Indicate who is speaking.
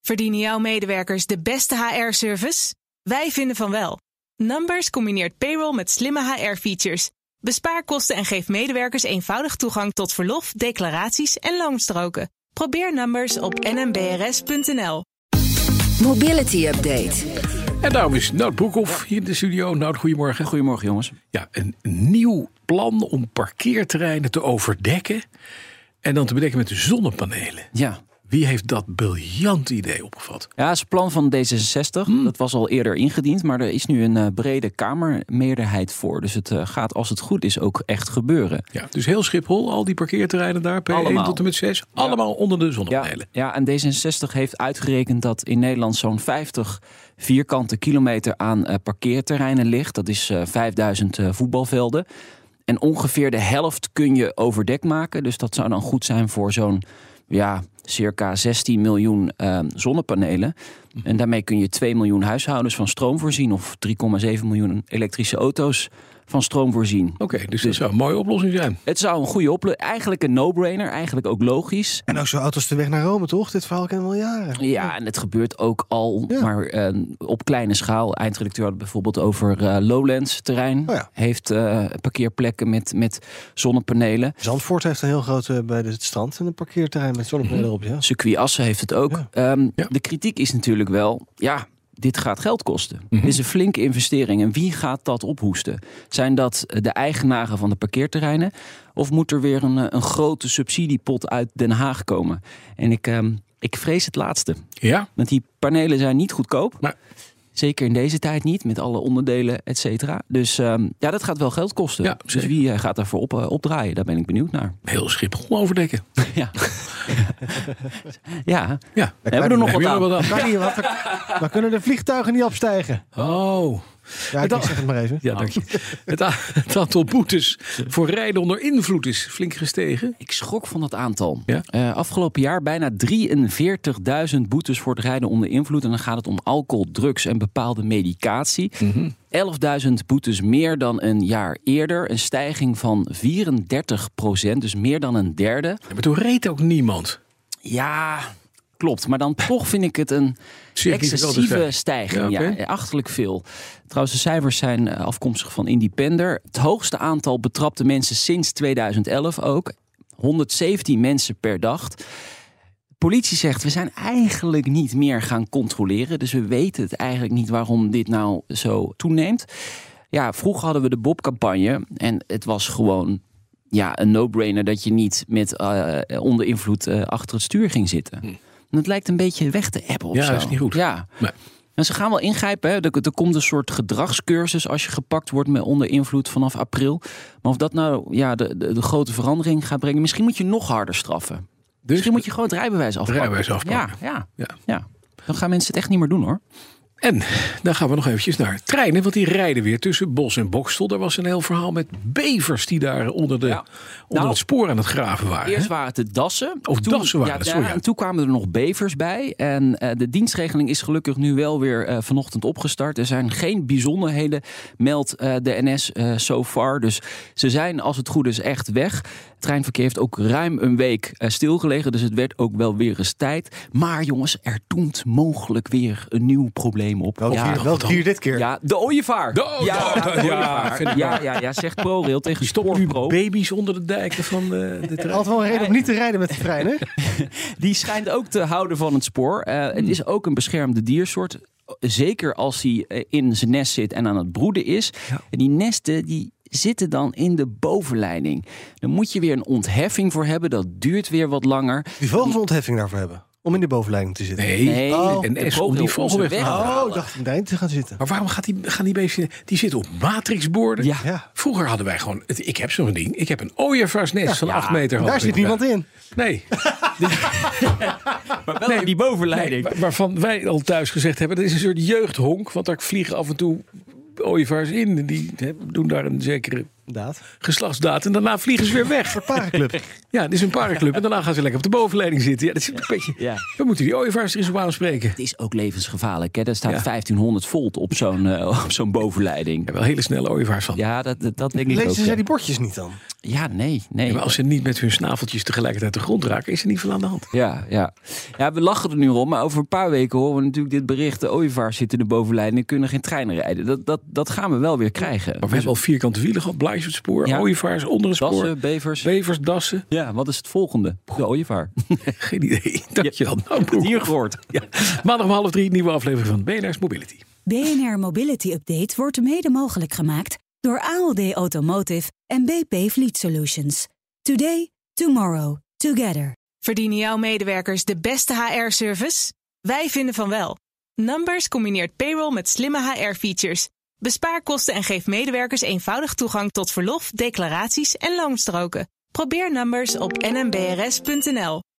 Speaker 1: Verdienen jouw medewerkers de beste HR-service? Wij vinden van wel. Numbers combineert payroll met slimme HR-features. Bespaar kosten en geef medewerkers eenvoudig toegang tot verlof, declaraties en loonstroken. Probeer Numbers op nmbrs.nl.
Speaker 2: Mobility Update.
Speaker 3: En daarom is Nout Broekhoff hier in de studio. Nout, goedemorgen.
Speaker 4: Eh, Goedemorgen jongens.
Speaker 3: Ja, een nieuw plan om parkeerterreinen te overdekken en dan te bedekken met zonnepanelen.
Speaker 4: Ja.
Speaker 3: Wie heeft dat briljant idee opgevat?
Speaker 4: Ja, het is een plan van D66. Dat was al eerder ingediend, maar er is nu een eh, brede Kamermeerderheid voor. Dus het eh, gaat, als het goed is, ook echt gebeuren.
Speaker 3: Ja, dus heel Schiphol, al die parkeerterreinen daar, P1
Speaker 4: Allemaal.
Speaker 3: tot en met 6, allemaal onder de zonnepanelen.
Speaker 4: Ja, en D66 heeft uitgerekend dat in Nederland zo'n 50 vierkante kilometer aan eh, parkeerterreinen ligt. Dat is eh, 5000 eh, voetbalvelden. En ongeveer de helft kun je overdekt maken. Dus dat zou dan goed zijn voor zo'n ja, circa 16 miljoen eh, zonnepanelen. En daarmee kun je 2 miljoen huishoudens van stroom voorzien. Of 3,7 miljoen elektrische auto's van stroom voorzien.
Speaker 3: Oké, dus dat zou een mooie oplossing zijn.
Speaker 4: Het zou een goede oplossing Eigenlijk een no-brainer. Eigenlijk ook logisch.
Speaker 5: En ook zo auto's de weg naar Rome, toch? Dit verhaal kennen we al jaren.
Speaker 4: Ja, en het gebeurt ook al,
Speaker 5: Ja.
Speaker 4: maar eh, op kleine schaal. Eindredacteur had het bijvoorbeeld over eh, Lowlands-terrein.
Speaker 5: Oh ja.
Speaker 4: Heeft eh, parkeerplekken met, met zonnepanelen.
Speaker 5: Zandvoort heeft een heel groot eh, bij de- het strand en een parkeerterrein met zonnepanelen
Speaker 4: Mhm.
Speaker 5: erop. Ja.
Speaker 4: Circuit Assen heeft het ook.
Speaker 5: Ja.
Speaker 4: Ehm,
Speaker 3: Ja.
Speaker 4: De kritiek is natuurlijk wel, ja, dit gaat geld kosten.
Speaker 5: Mhm.
Speaker 4: Dit is een flinke investering. En wie gaat dat ophoesten? Zijn dat eh, de eigenaren van de parkeerterreinen? Of moet er weer een, eh, een grote subsidiepot uit Den Haag komen? En ik, ehm, ik vrees het laatste.
Speaker 3: Ja,
Speaker 4: Want die panelen zijn niet goedkoop.
Speaker 3: Maar-
Speaker 4: Zeker in deze tijd niet, met alle onderdelen, et cetera. Dus ehm, ja, dat gaat wel geld kosten.
Speaker 3: Ja,
Speaker 4: dus
Speaker 3: zeker.
Speaker 4: wie eh, gaat daarvoor op, eh, opdraaien? Daar ben ik benieuwd naar.
Speaker 3: heel Schiphol overdekken.
Speaker 4: ja. ja.
Speaker 3: Ja.
Speaker 4: We hebben er nog
Speaker 3: Heb
Speaker 4: wat
Speaker 3: je
Speaker 4: aan.
Speaker 3: nog wat
Speaker 5: Kan niet, want dan, dan kunnen de vliegtuigen niet opstijgen.
Speaker 3: aan? Oh,
Speaker 5: Ja, ik
Speaker 3: dan-
Speaker 5: zeg het maar even.
Speaker 3: ja, dank je. Het, a- het aantal boetes voor rijden onder invloed is flink gestegen.
Speaker 4: Ik schrok van dat aantal.
Speaker 3: Ja?
Speaker 4: Eh, afgelopen jaar bijna 43.000 boetes voor het rijden onder invloed. En dan gaat het om alcohol, drugs en bepaalde medicatie.
Speaker 3: Mhm.
Speaker 4: 11.000 boetes meer dan een jaar eerder. Een stijging van 34 procent, dus meer dan een derde.
Speaker 3: Ja, Maar toen reed ook niemand.
Speaker 4: Ja, klopt. Maar dan toch vind ik het een
Speaker 3: Significante
Speaker 4: excessieve
Speaker 3: stijging.
Speaker 4: stijging.
Speaker 3: Ja,
Speaker 4: Ja,
Speaker 3: oké.
Speaker 4: achterlijk veel. Trouwens, de cijfers zijn eh, afkomstig van Independer. Het hoogste aantal betrapte mensen sinds 2011 ook. 117 mensen per dag. De politie zegt, we zijn eigenlijk niet meer gaan controleren. Dus we weten het eigenlijk niet waarom dit nou zo toeneemt. Ja, vroeger hadden we de Bob-campagne. En het was gewoon ja, een no-brainer dat je niet met eh, onder invloed eh, achter het stuur ging zitten. En het lijkt een beetje weg te ebben of
Speaker 3: Hm. Ja,
Speaker 4: zo.
Speaker 3: dat is niet goed.
Speaker 4: Ja.
Speaker 3: Nee.
Speaker 4: En ze gaan wel ingrijpen. Hè. Er, er komt een soort gedragscursus als je gepakt wordt met onder invloed vanaf april. Maar of dat nou ja, de, de, de grote verandering gaat brengen, misschien moet je nog harder straffen.
Speaker 3: Dus
Speaker 4: Misschien moet je gewoon het rijbewijs afpakken.
Speaker 3: rijbewijs afpakken.
Speaker 4: Ja, ja,
Speaker 3: Ja.
Speaker 4: ja. Dan gaan mensen het echt niet meer doen hoor.
Speaker 3: En dan gaan we nog eventjes naar treinen, want die rijden weer tussen Bos en Bokstel. Er was een heel verhaal met bevers die daar onder, de,
Speaker 4: Ja.
Speaker 3: onder
Speaker 4: Nou,
Speaker 3: het spoor aan het graven waren.
Speaker 4: Eerst waren het de dassen.
Speaker 3: Of Oh, dassen waren
Speaker 4: ja,
Speaker 3: het, sorry.
Speaker 4: daar- En toen kwamen er nog bevers bij. En eh, de dienstregeling is gelukkig nu wel weer eh, vanochtend opgestart. Er zijn geen bijzonderheden, meldt eh, de NS eh so far. Dus ze zijn, als het goed is, echt weg. Het treinverkeer heeft ook ruim een week eh, stilgelegen. Dus het werd ook wel weer eens tijd. Maar jongens, er doemt mogelijk weer een nieuw probleem op.
Speaker 5: Welk
Speaker 4: Ja.
Speaker 5: dier, welk dier dit keer?
Speaker 4: Ja, de ooievaar.
Speaker 3: De-
Speaker 4: ja,
Speaker 3: de-
Speaker 4: de
Speaker 3: ja, vind
Speaker 4: ooievaar.
Speaker 3: ik
Speaker 4: Ja, ja, ja, zegt ProRail tegen
Speaker 3: Die stopt nu
Speaker 4: Spoorpro.
Speaker 3: baby's onder de dijken van de, de trein.
Speaker 5: Altijd wel een reden om niet te rijden met de trein, hè?
Speaker 4: Die schijnt ook te houden van het spoor. Eh, Het is ook een beschermde diersoort. Zeker als hij eh, in zijn nest zit en aan het broeden is. En die nesten die zitten dan in de bovenleiding. Dan moet je weer een ontheffing voor hebben. Dat duurt weer wat langer.
Speaker 5: Die vogels een ontheffing daarvoor hebben. Om in de bovenleiding te zitten.
Speaker 3: Nee,
Speaker 4: Nee,
Speaker 5: Oh.
Speaker 3: en
Speaker 4: de
Speaker 3: S om
Speaker 4: ProRail
Speaker 3: die vogel
Speaker 4: onze
Speaker 3: weg te
Speaker 4: weg.
Speaker 3: halen.
Speaker 5: Oh, ik dacht om daarin te gaan zitten.
Speaker 3: Maar waarom gaat die, gaan die beesten... Die zitten op matrixborden.
Speaker 4: Ja.
Speaker 5: Ja.
Speaker 3: Vroeger hadden wij gewoon... het- ik heb zo'n ding. Ik heb een ooievaarsnest van 8 meter
Speaker 4: Oh,
Speaker 3: hoog.
Speaker 5: Daar zit niemand in.
Speaker 3: Nee.
Speaker 4: Maar wel in die bovenleiding.
Speaker 3: Wa- Waarvan wij al thuis gezegd hebben... dat is een soort jeugdhonk. Want daar vliegen af en toe ooievaars in. En Die hè, doen daar een zekere
Speaker 5: Inderdaad.
Speaker 3: geslachtsdaad. En daarna vliegen ze weer weg.
Speaker 5: Parenclub.
Speaker 3: Ja, dit is een parenclub. En daarna gaan ze lekker op de bovenleiding zitten. Ja, dat is een beetje...
Speaker 4: Ja.
Speaker 3: We moeten die ooievaars er eens op aanspreken.
Speaker 4: Het is ook levensgevaarlijk. Hè? Daar staat
Speaker 3: Ja.
Speaker 4: 1500 volt op zo'n eh, op zo'n bovenleiding.
Speaker 3: Er wel hele snelle ooievaars van.
Speaker 4: Ja, dat, dat, dat denk ik ook.
Speaker 5: Lezen
Speaker 4: ja.
Speaker 5: zij die bordjes niet dan?
Speaker 4: Ja, nee, nee.
Speaker 3: maar als ze niet met hun snaveltjes tegelijkertijd de grond raken, is er niet veel aan de hand.
Speaker 4: Ja, ja. ja, we lachen er nu om, maar over een paar weken horen we natuurlijk dit bericht. De ooievaars zitten er boven Leiden en kunnen geen treinen rijden. Dat, dat, dat gaan we wel weer krijgen.
Speaker 3: Maar we hebben al vierkante wielen gehad, blaasjes op het spoor,
Speaker 4: Ja.
Speaker 3: ooievaars onder het spoor,
Speaker 4: Dassen, bevers.
Speaker 3: bevers, dassen.
Speaker 4: ja, wat is het volgende? De ooievaar.
Speaker 3: Geen idee. Dankjewel. Nou, Broek.
Speaker 4: Hier gehoord.
Speaker 3: Ja. Maandag om half drie, nieuwe aflevering van BNR's Mobility.
Speaker 6: BNR Mobility Update wordt mede mogelijk gemaakt door ALD Automotive en BP Fleet Solutions. Today, tomorrow, together.
Speaker 1: Verdienen jouw medewerkers de beste HR-service? Wij vinden van wel. Numbers combineert payroll met slimme HR-features. Bespaar kosten en geef medewerkers eenvoudig toegang tot verlof, declaraties en loonstroken. Probeer Numbers op nmbrs.nl.